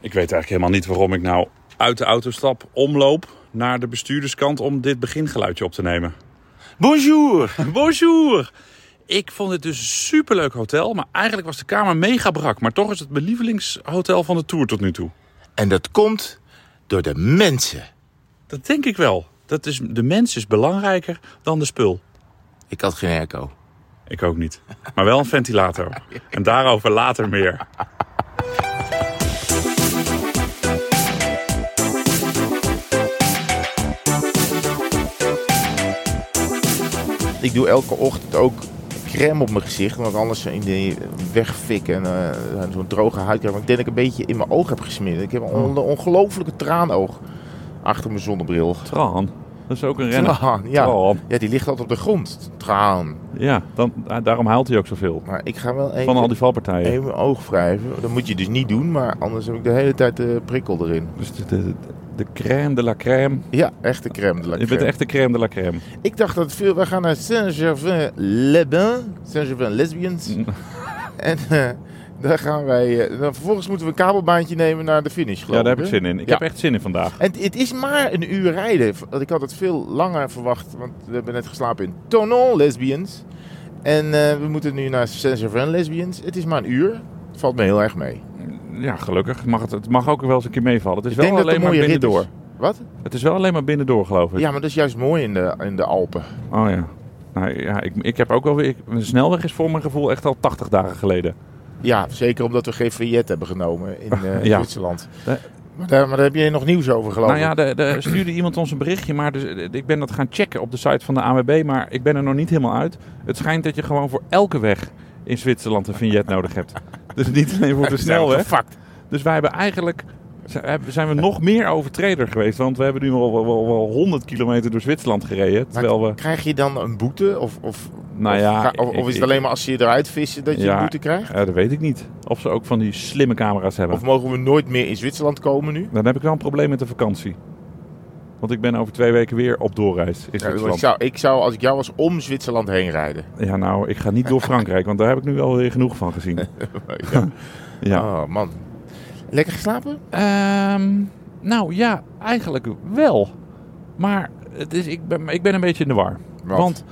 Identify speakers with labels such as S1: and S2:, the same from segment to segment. S1: Ik weet eigenlijk helemaal niet waarom ik nou uit de auto stap, omloop naar de bestuurderskant om dit begingeluidje op te nemen. Bonjour! Bonjour! Ik vond het dus een superleuk hotel, maar eigenlijk was de kamer mega brak. Maar toch is het mijn lievelingshotel van de tour tot nu toe.
S2: En dat komt door de mensen.
S1: Dat denk ik wel. Dat is, de mens is belangrijker dan de spul.
S2: Ik had geen airco.
S1: Ik ook niet. Maar wel een ventilator. En daarover later meer.
S2: Ik doe elke ochtend ook crème op mijn gezicht. Want anders in die wegfik en eh, zo'n droge huid. Maar ik denk dat ik een beetje in mijn oog heb gesmeerd. Ik heb een on- ongelofelijke traanoog achter mijn zonnebril.
S1: Traan. Dat is ook een
S2: Traan, ja.
S1: Traan.
S2: ja, die ligt altijd op de grond. Traan.
S1: Ja, dan, daarom haalt hij ook zoveel.
S2: Maar ik ga wel
S1: Van al
S2: even,
S1: die valpartijen.
S2: even mijn oog wrijven. Dat moet je dus niet doen, maar anders heb ik de hele tijd de prikkel erin.
S1: Dus de, de, de crème de la crème.
S2: Ja, echte crème. De la
S1: Je bent
S2: crème.
S1: echt de crème de la crème.
S2: Ik dacht dat veel. We gaan naar Saint-Gervais-les-Bains. Saint-Gervais-lesbians.
S1: Mm.
S2: en eh, daar gaan wij. eh, dan vervolgens moeten we een kabelbaantje nemen naar de finish.
S1: Ja,
S2: geloof
S1: daar heb ik
S2: hè?
S1: zin in. Ik
S2: Ja.
S1: heb echt zin in vandaag.
S2: En het- het is maar een uur rijden. V- want Ik had het veel langer verwacht, want we hebben net geslapen in Tonon Lesbians. En eh, we moeten nu naar Saint-Gervais Lesbians. Het is maar een uur. Valt me heel erg mee.
S1: Ja, gelukkig. Mag het, het mag ook wel eens een keer meevallen. Het is
S2: Ik
S1: wel
S2: denk dat het
S1: alleen
S2: een mooie
S1: maar
S2: rit
S1: binnendoor.
S2: door. Wat?
S1: Het is wel alleen maar binnendoor, geloof ik.
S2: Ja, maar dat is juist mooi in de, in de Alpen.
S1: Oh ja. Nou, ja, ik, ik heb ook wel weer... ik- een snelweg is voor mijn gevoel echt al 80 dagen geleden.
S2: Ja, zeker omdat we geen vignet hebben genomen in eh,
S1: Ja.
S2: Zwitserland.
S1: Eh.
S2: Maar daar, maar daar heb je nog nieuws over, geloof
S1: Nou
S2: ik.
S1: ja, de- de- stuurde iemand ons een berichtje, maar dus, eh, ik ben dat gaan checken op de site van de AWB, maar ik ben er nog niet helemaal uit. Het schijnt dat je gewoon voor elke weg in Zwitserland een vignet nodig hebt. Dus niet alleen voor de snelweg.
S2: Gefakt.
S1: Dus wij hebben eigenlijk zijn- hebben- zijn we nog meer overtreder geweest, want we hebben nu al wel, wel, wel 100 kilometer door Zwitserland gereden, terwijl we...
S2: Krijg je dan een boete? Of, of,
S1: Nou
S2: of
S1: ja,
S2: ga- of,
S1: ik-
S2: of is het
S1: ik-
S2: alleen maar als je eruit vissen dat je
S1: Ja.
S2: een boete krijgt?
S1: Eh, dat weet ik niet. Of ze ook van die slimme camera's hebben.
S2: Of mogen we nooit meer in Zwitserland komen nu?
S1: Dan heb ik wel een probleem met de vakantie. Want ik ben over twee weken weer op doorreis in
S2: Ja, want ik,
S1: Zwitserland.
S2: zou, ik zou, als ik jou was, om Zwitserland heen rijden.
S1: Ja, nou, ik ga niet door Frankrijk, want daar heb ik nu wel weer genoeg van gezien.
S2: ja.
S1: Ja.
S2: Oh, man. Lekker geslapen?
S1: Ehm, nou ja, eigenlijk wel. Maar het is, ik, ben, ik ben een beetje in de war.
S2: Wat?
S1: Want,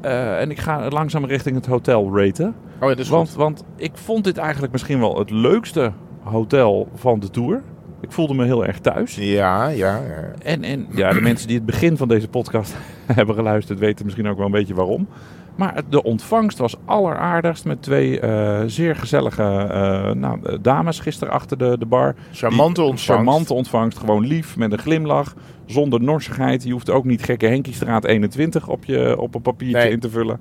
S1: eh, en ik ga langzaam richting het hotel raten.
S2: Oh, ja, dat is
S1: Want,
S2: goed.
S1: want ik vond dit eigenlijk misschien wel het leukste hotel van de tour. Ik voelde me heel erg thuis.
S2: Ja, ja, ja.
S1: En, en ja, de mensen die het begin van deze podcast hebben geluisterd, weten misschien ook wel een beetje waarom. Maar het- de ontvangst was alleraardigst met twee eh, zeer gezellige eh, nou, eh, dames gisteren achter de, de bar.
S2: Charmante
S1: Die-
S2: ontvangst.
S1: Charmante ontvangst, gewoon lief, met een glimlach, zonder norsigheid. Je hoeft ook niet gekke Henkiestraat 21 op, je, op een papiertje
S2: Nee.
S1: in te vullen.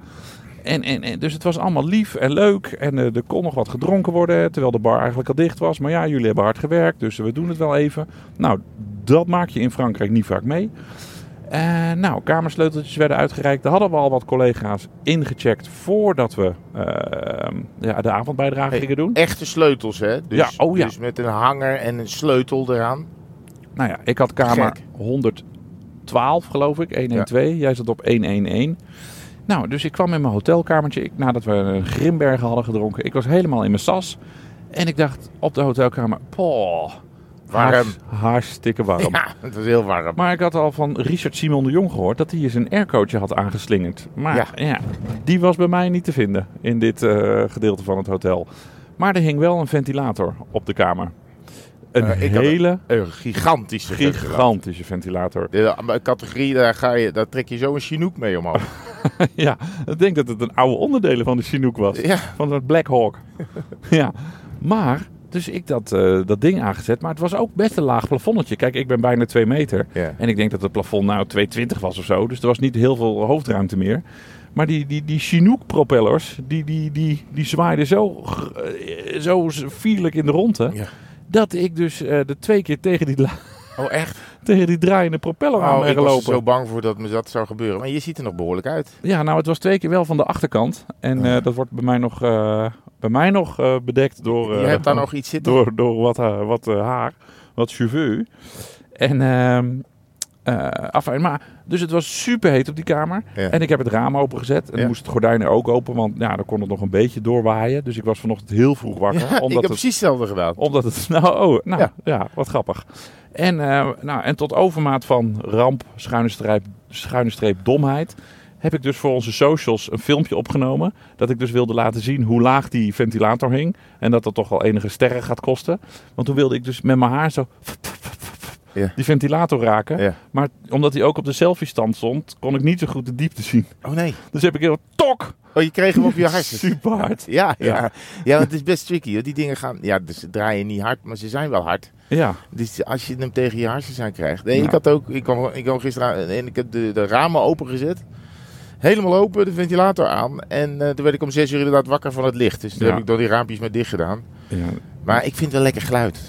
S1: En, en, en, dus het was allemaal lief en leuk. En eh, er kon nog wat gedronken worden, hè, terwijl de bar eigenlijk al dicht was. Maar ja, jullie hebben hard gewerkt, dus we doen het wel even. Nou, dat maak je in Frankrijk niet vaak mee. Eh, nou, kamersleuteltjes werden uitgereikt. Daar hadden we al wat collega's ingecheckt voordat we eh, ja, de avondbijdrage
S2: Hey,
S1: gingen doen.
S2: Echte sleutels, hè? Dus,
S1: Ja, oh ja.
S2: Dus met een hanger en een sleutel eraan.
S1: Nou ja, ik had kamer
S2: Gek.
S1: 112, geloof ik, 112. Jij zat op 111. Nou, dus ik kwam in mijn hotelkamertje ik, nadat we een Grimbergen hadden gedronken. Ik was helemaal in mijn sas. En ik dacht op de hotelkamer, poh,
S2: Warm.
S1: hars- hartstikke warm.
S2: Ja, het was heel warm.
S1: Maar ik had al van Richard Simon de Jong gehoord dat hij eens een aircootje had aangeslingerd. Maar ja.
S2: Ja.
S1: die was bij mij niet te vinden in dit eh, gedeelte van het hotel. Maar er hing wel een ventilator op de kamer. Een
S2: Eh, ik had een-
S1: hele
S2: Een gigantische ventilator.
S1: gigantische ventilator.
S2: De de categorie, daar, ga je, daar trek je zo een Chinook mee omhoog.
S1: Ja, ik denk dat het een oude onderdelen van de Chinook was.
S2: Ja.
S1: Van het Black Hawk. ja, maar, dus ik dat, eh, dat ding aangezet. Maar het was ook best een laag plafonnetje. Kijk, ik ben bijna 2 meter.
S2: Ja.
S1: En ik denk dat het plafond nou 2,20 was of zo. Dus er was niet heel veel hoofdruimte meer. Maar die, die, die Chinook-propellers, die, die, die, die zwaaiden zo, gr- eh, zo vierlijk in de ronde...
S2: Ja.
S1: dat ik dus eh, de twee keer tegen die, la-
S2: Oh, echt?
S1: tegen die draaiende propeller aan
S2: Oh,
S1: ben
S2: ik was er
S1: gelopen.
S2: zo bang voor dat me dat zou gebeuren. Maar je ziet er nog behoorlijk uit.
S1: Ja, nou, het was twee keer wel van de achterkant. En
S2: Oh,
S1: eh, dat wordt bij mij nog, eh, bij mij nog eh, bedekt door,
S2: Je
S1: eh,
S2: hebt daar nog iets zitten.
S1: door, door wat, eh, wat eh, haar, wat cheveux. En ehm, eh afijn, maar, dus het was super heet op die kamer.
S2: Ja.
S1: En ik heb het raam opengezet. En
S2: Ja.
S1: dan moest het gordijn er ook open, want ja, dan kon het nog een beetje doorwaaien. Dus ik was vanochtend heel vroeg wakker.
S2: Ja, ik heb
S1: omdat, het,
S2: precies hetzelfde gedaan.
S1: omdat het. Nou, oh, nou
S2: Ja.
S1: ja. wat grappig. En, eh, nou, en tot overmaat van ramp, schuine streep, schuine streep domheid. Heb ik dus voor onze socials een filmpje opgenomen. Dat ik dus wilde laten zien hoe laag die ventilator hing. En dat dat toch wel enige sterren gaat kosten. Want toen wilde ik dus met mijn haar zo.
S2: Ja.
S1: Die ventilator raken.
S2: Ja.
S1: Maar omdat hij ook op de selfie-stand stond, kon ik niet zo goed de diepte zien.
S2: Oh nee.
S1: Dus heb ik heel tok!
S2: Oh, je kreeg hem op je hart.
S1: Super hard.
S2: Ja, ja. ja.
S1: Ja.
S2: want het is best tricky. Hoor. Die dingen gaan... Ja, dus ze draaien niet hard, maar ze zijn wel hard.
S1: Ja,
S2: Dus als je hem tegen je hartjes aan krijgt. Nee,
S1: Ja.
S2: ik had ook... Ik kwam, ik kwam gisteren aan en ik heb de, de ramen opengezet. Helemaal open, de ventilator aan. En eh, toen werd ik om zes uur inderdaad wakker van het licht. Dus toen
S1: Ja.
S2: heb ik dan die raampjes maar dicht gedaan.
S1: ja.
S2: Maar ik vind het wel lekker geluid.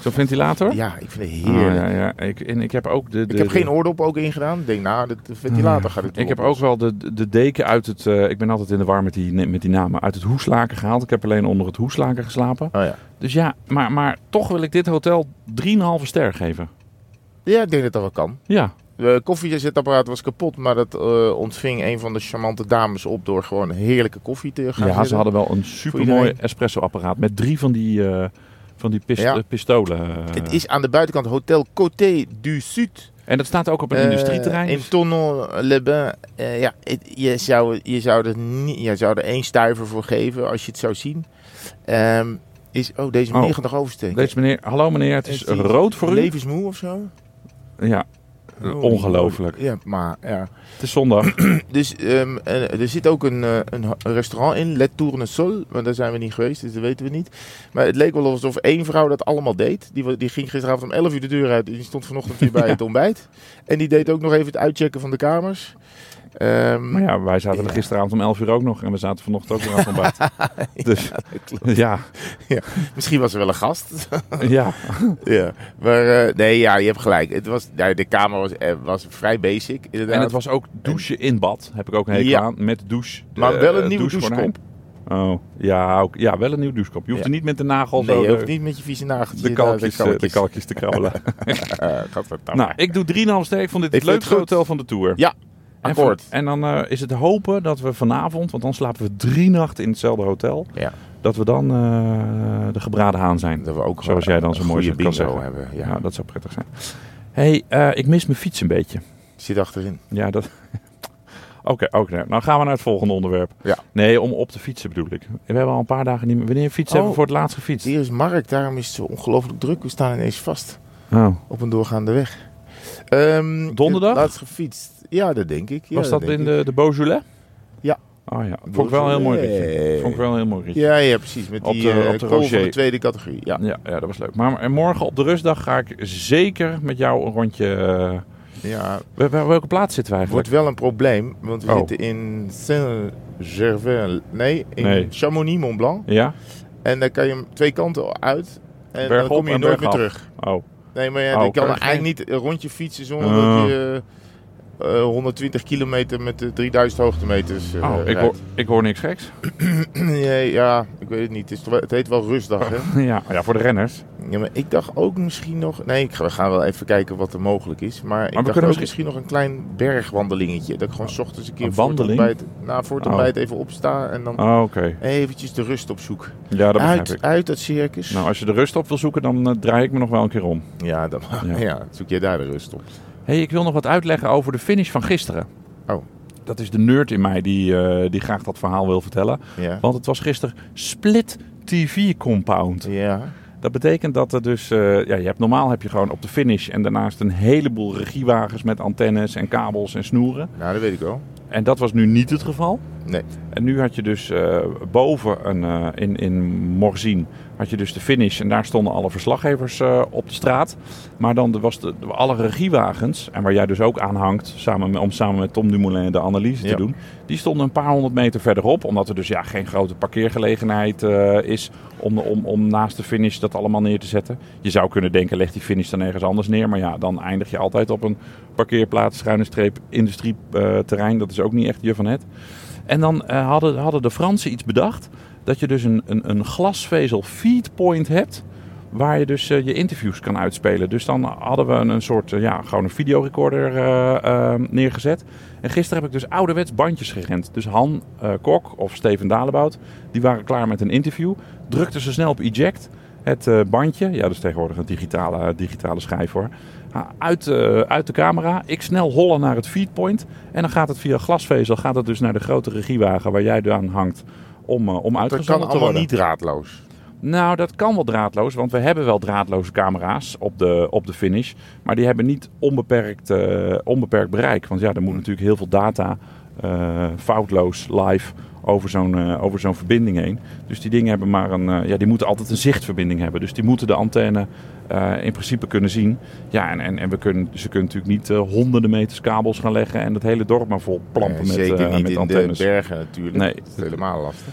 S1: zo'n ventilator?
S2: Ja, ik vind het
S1: Ah,
S2: heerlijk.
S1: ja, ja. Ik, en ik heb ook de. de
S2: Ik heb
S1: de-
S2: geen oordop ook ingedaan. Ik denk, nou, de de ventilator gaat het
S1: Mm. Ik heb
S2: wel
S1: ook wel de, de deken uit het. eh, ik ben altijd in de war met die, met die namen. Uit het hoeslaken gehaald. Ik heb alleen onder het hoeslaken geslapen.
S2: oplossen. Oh, ja.
S1: Dus ja, maar, maar toch wil ik dit hotel 3,5 ster geven.
S2: ja, ik denk dat dat wel kan.
S1: Ja.
S2: De koffiezetapparaat was kapot, maar dat eh, ontving een van de charmante dames op door gewoon heerlijke koffie te gaan
S1: Ja, ze
S2: zetten.
S1: hadden wel een supermooi
S2: iedereen.
S1: espresso-apparaat. Met drie van die, eh, van die pist-
S2: Ja.
S1: eh, pistolen. eh.
S2: Het is aan de buitenkant Hotel Côté du Sud.
S1: En dat staat ook op een
S2: eh,
S1: industrieterrein. dus?
S2: In Tonon-le-Bain. Eh, ja, het- je, zou, je, zou er niet, je zou er één stuiver voor geven als je het zou zien. Ehm, is, oh, deze meneer
S1: Oh.
S2: gaat nog oversteken.
S1: Deze meneer, hallo meneer, het is
S2: Het is
S1: rood voor u.
S2: Levensmoe of zo?
S1: Ja, ongelooflijk.
S2: Ja, maar ja.
S1: Het is zondag.
S2: Dus ehm, eh, er zit ook een, eh, een ho- een restaurant in, Le Tournesol. Maar daar zijn we niet geweest, dus dat weten we niet. Maar het leek wel alsof één vrouw dat allemaal deed. Die, wa- die ging gisteravond om 11 uur de deur uit. en Die stond vanochtend weer bij het ontbijt. En die deed ook nog even het uitchecken van de kamers. Ehm,
S1: Maar ja, wij zaten
S2: Ja.
S1: er gisteravond om 11 uur ook nog en we zaten vanochtend ook nog aan het ontbijt. Dus ja,
S2: Misschien was er wel een gast.
S1: ja.
S2: ja. Maar eh, nee, ja, je hebt gelijk. Het was, nou, de kamer was, eh, was vrij basic. Inderdaad.
S1: En het was ook douchen in bad, heb ik ook een hekel
S2: Ja.
S1: aan, met douche. de,
S2: maar wel een
S1: eh,
S2: nieuwe
S1: douchegordijn.
S2: douchekop.
S1: Oh, ja, ook, ja, wel een nieuw douchekop. Je hoeft
S2: Ja.
S1: er niet met de nagel
S2: Nee,
S1: zo
S2: je
S1: de-
S2: hoeft niet met je vieze nagels.
S1: de, kalkjes, eh, de kalkjes te krabbelen.
S2: eh,
S1: nou, ik doe 3,5 ster. Ik vond dit
S2: Ik
S1: het
S2: vind het
S1: leukste
S2: goed.
S1: hotel van de Tour.
S2: Ja,
S1: En,
S2: akkoord.
S1: van- en dan eh, is het hopen dat we vanavond, want dan slapen we drie nachten in hetzelfde hotel,
S2: Ja.
S1: dat we dan eh, de gebraden haan zijn.
S2: Dat we ook
S1: Zoals jij dan zo
S2: een
S1: mooi
S2: goede
S1: zo kan
S2: bingo
S1: zeggen.
S2: hebben. Ja.
S1: Ja, dat zou prettig zijn. hey, eh, ik mis mijn fiets een beetje.
S2: Zit achterin.
S1: Ja, dat... Oké, oké. nou gaan we naar het volgende onderwerp.
S2: Ja.
S1: Nee, om op te fietsen bedoel ik. We hebben al een paar dagen niet meer... Wanneer fietsen hebben
S2: Oh.
S1: we voor het laatst gefietst?
S2: Hier is Mark, daarom is het zo ongelooflijk druk. We staan ineens vast
S1: Oh.
S2: op een doorgaande weg. Ehm,
S1: Donderdag?
S2: Laatst gefietst. Ja, dat denk ik. Ja,
S1: Was dat
S2: denk
S1: in
S2: ik.
S1: de, de Beaujolais?
S2: Ja.
S1: Oh ja, vond ik wel een heel mooi ritje. Vond ik wel een heel mooi ritje.
S2: Ja, ja, precies. Met
S1: Op
S2: die
S1: de-
S2: eh,
S1: op de
S2: kool van
S1: Roger.
S2: de tweede categorie. Ja,
S1: Ja, ja, dat was leuk. Maar en morgen op de rustdag ga ik zeker met jou een rondje... eh,
S2: ja.
S1: wel- wel- welke plaats zitten we eigenlijk?
S2: Wordt wel een probleem, want we
S1: Oh.
S2: zitten in Saint-Gervais. Nee, in
S1: Nee.
S2: Chamonix-Mont-Blanc.
S1: Ja?
S2: En daar kan je twee kanten uit. En dan
S1: Bergop
S2: kom je
S1: en
S2: nooit meer
S1: bergaf.
S2: terug.
S1: Oh.
S2: Nee, maar ja,
S1: Oh,
S2: je kan
S1: kan je
S2: eigenlijk niet een rondje fietsen zonder
S1: Ah.
S2: dat je eh, eh, 120 kilometer met eh, 3000 hoogtemeters eh,
S1: oh ik, hoor,
S2: rijdt.
S1: ik hoor niks geks.
S2: Nee, ja, ik weet het niet. Het, is toch wel- het heet wel rustdag, hè?
S1: ja. ja, voor de renners.
S2: Ja, maar ik dacht ook misschien nog... Nee, ik ga, we gaan wel even kijken wat er mogelijk is. Maar, ik
S1: we
S2: dacht ook
S1: kunnen
S2: misschien...
S1: misschien Ah,
S2: nog een klein bergwandelingetje. Dat ik gewoon 's ochtends een keer
S1: Een
S2: voor het
S1: wandeling?
S2: ontbijt, na, voor het
S1: Oh.
S2: ontbijt even opsta en dan
S1: Oh, oké.
S2: eventjes de rust opzoek.
S1: Ja, dat begrijp
S2: Uit,
S1: ik.
S2: uit dat circus.
S1: Nou, als je de rust op wil zoeken, dan eh, draai ik me nog wel een keer om.
S2: Ja, dan ja.
S1: Ja.
S2: zoek jij daar de rust op.
S1: hey, ik wil nog wat uitleggen over de finish van gisteren.
S2: Oh.
S1: Dat is de nerd in mij die, eh, die graag dat verhaal wil vertellen.
S2: Ja.
S1: Want het was gisteren Split TV Compound.
S2: Ja.
S1: Dat betekent dat er dus... eh, ja, je hebt, normaal heb je gewoon op de finish en daarnaast een heleboel regiewagens met antennes en kabels en snoeren.
S2: Nou, dat weet ik wel.
S1: En dat was nu niet het geval.
S2: Nee.
S1: En nu had je dus eh, boven een, eh, in, in Morzine had je dus de finish. En daar stonden alle verslaggevers eh, op de straat. Maar dan was de, de- alle regiewagens, en waar jij dus ook aan hangt, samen met, om samen met Tom Dumoulin de analyse
S2: Ja.
S1: te doen. Die stonden een paar honderd meter verderop. Omdat er dus ja, geen grote parkeergelegenheid eh, is om, om, om naast de finish dat allemaal neer te zetten. Je zou kunnen denken, leg die finish dan ergens anders neer. Maar ja, dan eindig je altijd op een parkeerplaats, schuine streep, industrieterrein. dat is ook niet echt je van het. En dan eh, hadden, hadden de Fransen iets bedacht. Dat je dus een, een, een glasvezel feedpoint hebt. Waar je dus eh, je interviews kan uitspelen. Dus dan hadden we een, een soort, eh, ja, gewoon een videorecorder eh, eh, neergezet. En gisteren heb ik dus ouderwets bandjes gerend. Dus Han eh, Kok of Steven Dalebout, die waren klaar met een interview. Drukten ze snel op eject. Het eh, bandje, ja dat is tegenwoordig een digitale, eh, digitale schijf hoor. Ha, Uit, eh, uit de camera, ik snel hollen naar het feedpoint. En dan gaat het via glasvezel gaat het dus naar de grote regiewagen waar jij aan hangt om, eh, om
S2: Dat
S1: uitgezonden
S2: kan
S1: te
S2: allemaal
S1: worden.
S2: niet draadloos.
S1: Nou, dat kan wel draadloos, want we hebben wel draadloze camera's op de, op de finish. Maar die hebben niet onbeperkt, eh, onbeperkt bereik. Want ja, er
S2: Hmm.
S1: moet natuurlijk heel veel data eh, foutloos live over zo'n eh, over zo'n verbinding heen. Dus die dingen hebben maar een, eh, ja, die moeten altijd een zichtverbinding hebben. Dus die moeten de antenne eh, in principe kunnen zien. Ja, en, en, en we kunnen, ze kunnen natuurlijk niet eh, honderden meters kabels gaan leggen en het hele dorp maar vol plampen
S2: Eh,
S1: met,
S2: Zeker
S1: eh,
S2: niet
S1: met
S2: in
S1: antennes.
S2: de bergen natuurlijk.
S1: Nee.
S2: Dat is helemaal lastig.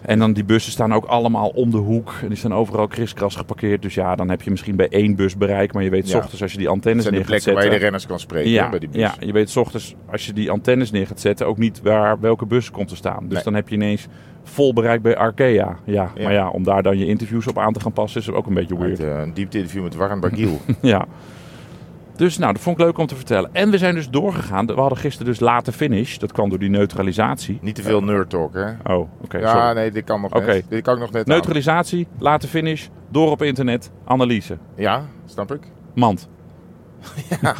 S1: En dan die bussen staan ook allemaal om de hoek. En die staan overal kriskras geparkeerd. Dus ja, dan heb je misschien bij één bus bereik. Maar je weet, s
S2: Ja.
S1: ochtends als je die
S2: Dat
S1: antennes
S2: zijn de
S1: neer gaat
S2: plekken waar je
S1: zetten...
S2: de renners kan spreken hè,
S1: eh, ja,
S2: bij die bus.
S1: ja, je weet, s ochtends als je die antennes neer gaat zetten... ook niet waar welke bus komt te staan. Dus
S2: Nee.
S1: dan heb je ineens vol bereik bij Arkea. Ja,
S2: Ja.
S1: maar ja, om daar dan je interviews op aan te gaan passen... is ook een beetje
S2: Uit,
S1: weird.
S2: eh, een diepte-interview met Warren Bargiel.
S1: Ja. Dus nou, dat vond ik leuk om te vertellen. En we zijn dus doorgegaan. We hadden gisteren dus late finish. Dat kwam door die neutralisatie.
S2: niet te veel nerd talk, hè?
S1: Oh, oké, sorry.
S2: ja, nee, dit kan nog
S1: Oké.
S2: net. Dit kan ik nog net aan.
S1: Neutralisatie, late finish, door op internet, analyse.
S2: Ja, snap ik.
S1: Mand.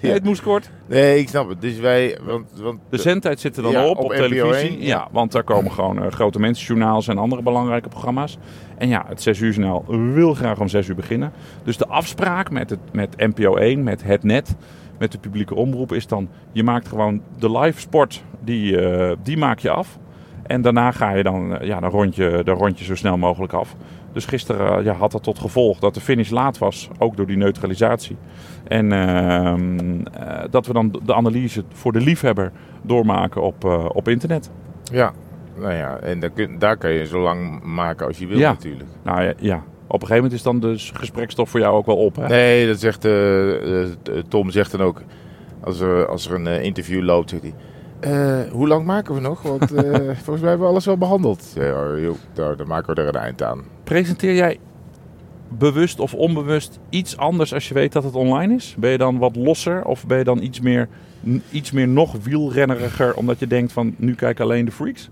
S2: Ja.
S1: Het moest kort.
S2: Nee, ik snap het. Dus wij... Want, want,
S1: De zendtijd zit er dan
S2: Ja,
S1: op, op,
S2: op NPO
S1: televisie.
S2: 1, ja.
S1: Ja, want daar komen gewoon eh, grote mensenjournaals en andere belangrijke programma's. En ja, het 6 uur journaal wil graag om 6 uur beginnen. Dus de afspraak met, het, met NPO 1, met het net, met de publieke omroep is dan... je maakt gewoon de live sport, die, eh, die maak je af. En daarna ga je dan, eh, ja, dan, rond je, dan rond je zo snel mogelijk af. Dus gisteren eh, ja, had dat tot gevolg dat de finish laat was, ook door die neutralisatie. En ehm, eh, dat we dan de analyse voor de liefhebber doormaken op, eh, op internet.
S2: ja, nou ja. En daar kun, daar kun je zo lang maken als je wil
S1: Ja.
S2: natuurlijk.
S1: Nou ja, ja. op een gegeven moment is dan de gesprekstof voor jou ook wel op. Hè?
S2: Nee, dat zegt eh, eh, Tom zegt dan ook, als er, als er een eh, interview loopt, zegt hij. "Eh, hoe lang maken we nog? Want eh, volgens mij hebben we alles wel behandeld. Ja, joh, nou, dan maken we er een eind aan.
S1: Presenteer jij bewust of onbewust iets anders als je weet dat het online is? Ben je dan wat losser of ben je dan iets meer, n- iets meer nog wielrenneriger omdat je denkt van nu kijken alleen de freaks?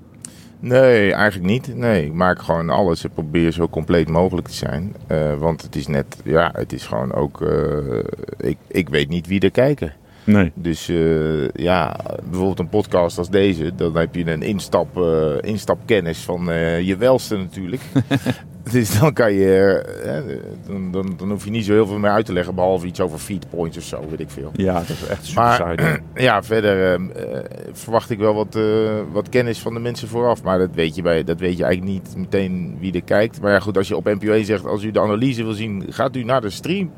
S2: Nee, eigenlijk niet. Nee, ik maak gewoon alles en probeer zo compleet mogelijk te zijn. Eh, want het is net, ja, het is gewoon ook, eh, ik, ik weet niet wie er kijken.
S1: Nee.
S2: Dus eh, ja, bijvoorbeeld een podcast als deze, dan heb je een instap, eh, instapkennis van eh, je welste natuurlijk. dus dan kan je, eh, dan, dan, dan hoef je niet zo heel veel meer uit te leggen, behalve iets over feedpoints of zo, weet ik veel.
S1: Ja, dat is echt super
S2: Maar-
S1: saai. dan.
S2: Ja, verder ehm, eh, verwacht ik wel wat, eh, wat kennis van de mensen vooraf. Maar dat weet, je bij, dat weet je eigenlijk niet meteen wie er kijkt. Maar ja, goed, als je op NPO 1 zegt, als u de analyse wil zien, gaat u naar de stream.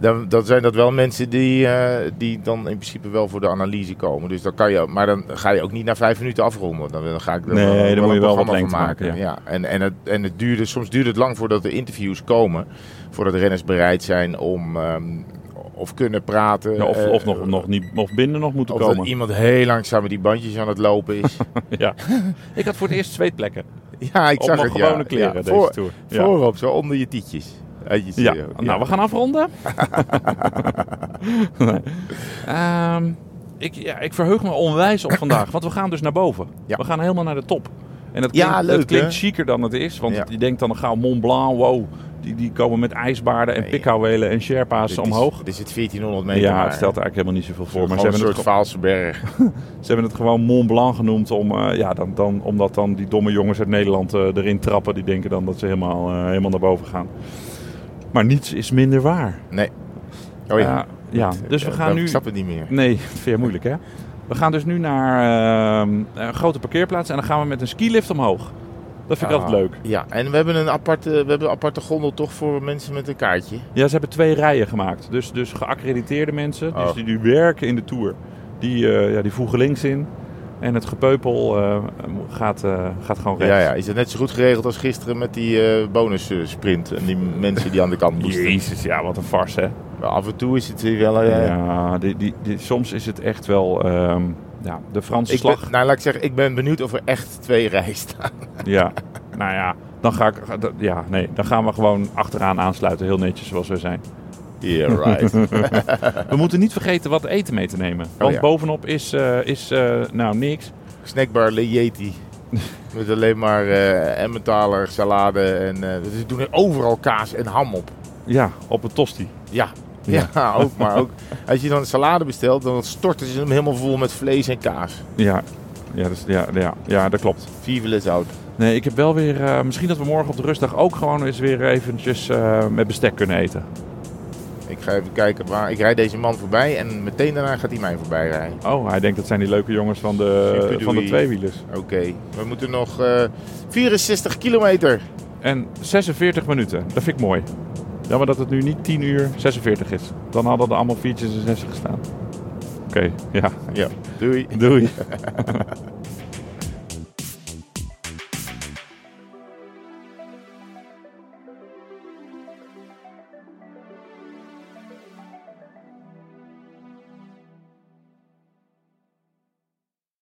S2: Dan, dan zijn dat wel mensen die, eh, die dan in principe wel voor de analyse komen. Dus dan kan je, maar dan ga je ook niet na vijf minuten afronden. Dan, dan ga ik er
S1: Nee, dan moet
S2: een
S1: je wel wat
S2: programma van
S1: lengte maken, ja.
S2: ja, en, en, het, en het duurde, soms duurde het lang voordat de interviews komen. Voordat de renners bereid zijn om ehm, of kunnen praten.
S1: Ja, of,
S2: eh,
S1: of, nog, nog niet, of binnen nog moeten
S2: of
S1: komen.
S2: dat iemand heel langzaam met die bandjes aan het lopen is.
S1: Ja. ik had voor het eerst zweetplekken.
S2: ja, ik
S1: Op
S2: zag
S1: mijn
S2: het. ja.
S1: gewone kleren
S2: ja,
S1: deze
S2: voor-
S1: tour. Ja.
S2: Voorop, zo onder je tietjes. Uit je
S1: Ja,
S2: studio.
S1: nou, we gaan afronden. Nee. Ehm, ik, ja, ik verheug me onwijs op vandaag, want we gaan dus naar boven.
S2: Ja.
S1: We gaan helemaal naar de top. En dat
S2: Ja,
S1: klinkt,
S2: leuk,
S1: dat klinkt
S2: hè?
S1: chiquer dan het is, want
S2: Ja.
S1: je denkt dan gauw Mont Blanc, wow. Die, die komen met ijsbaarden en
S2: Nee.
S1: pikhouwelen en sherpa's
S2: Dit Dus is-
S1: omhoog.
S2: Dit is het 1400 meter.
S1: Ja,
S2: maar.
S1: het stelt er eigenlijk helemaal niet zoveel voor. Maar ze
S2: Gewoon een
S1: hebben, het,
S2: soort
S1: ge-
S2: Vaalse berg.
S1: ze hebben het gewoon Mont Blanc genoemd, om, eh, ja, dan, dan, omdat dan die domme jongens uit Nederland eh, erin trappen. Die denken dan dat ze helemaal, eh, helemaal naar boven gaan. Maar niets is minder waar.
S2: Nee. Oh ja.
S1: Eh, ja. Dus we
S2: Ja,
S1: gaan
S2: dan-
S1: nu...
S2: Ik snap het niet meer.
S1: Nee, dat vind je moeilijk hè? We gaan dus nu naar ehm, een grote parkeerplaats en dan gaan we met een skilift omhoog. Dat vind ik altijd leuk.
S2: Ah. Ja, en we hebben een aparte, we hebben een aparte gondel toch voor mensen met een kaartje.
S1: Ja, ze hebben twee rijen gemaakt. Dus, dus geaccrediteerde mensen,
S2: Oh.
S1: dus die, die werken in de Tour, die, eh, ja, die voegen links in. En het gepeupel eh, gaat, eh, gaat gewoon rechts.
S2: Ja, ja. Is dat net zo goed geregeld als gisteren met die eh bonus eh, sprint en die mensen die aan de kant moesten?
S1: Jezus, ja, wat een farce hè?
S2: Maar af en toe is het hier wel... eh,
S1: Ja, die, die, die- soms is het echt wel ehm, ja, de Franse
S2: ik
S1: slag.
S2: ben, nou, laat ik zeggen, ik ben benieuwd of er echt twee rijen staan.
S1: Ja, nou ja, Dan, ga ik, ja, nee, dan gaan we gewoon achteraan aansluiten, heel netjes zoals we zijn.
S2: Yeah, right.
S1: We moeten niet vergeten wat eten mee te nemen. Want
S2: ja.
S1: bovenop is, eh, is eh, nou niks.
S2: Snackbar Le Yeti. Met alleen maar eh emmentaler, salade en... eh ze doen er overal kaas en ham op.
S1: Ja, op een tosti.
S2: Ja. Ja, ook. Maar ook als je dan een salade bestelt, dan storten ze hem helemaal vol met vlees en kaas.
S1: Ja, ja, dus, ja, ja, ja dat klopt.
S2: Vive les out.
S1: Nee, ik heb wel weer... eh, misschien dat we morgen op de rustdag ook gewoon eens weer eventjes eh, met bestek kunnen eten.
S2: Ik ga even kijken waar... Ik rijd deze man voorbij en meteen daarna gaat hij mij voorbij rijden.
S1: Oh, hij denkt dat zijn die leuke jongens van de,
S2: Superdoei.
S1: van de tweewielers.
S2: Oké. We moeten nog eh 64 kilometer.
S1: En 46 minuten, dat vind ik mooi. Jammer dat het nu niet 10 uur 46 is. Dan hadden er allemaal 4 en 60 gestaan. Oké, ja.
S2: Ja. Doei.
S1: Doei.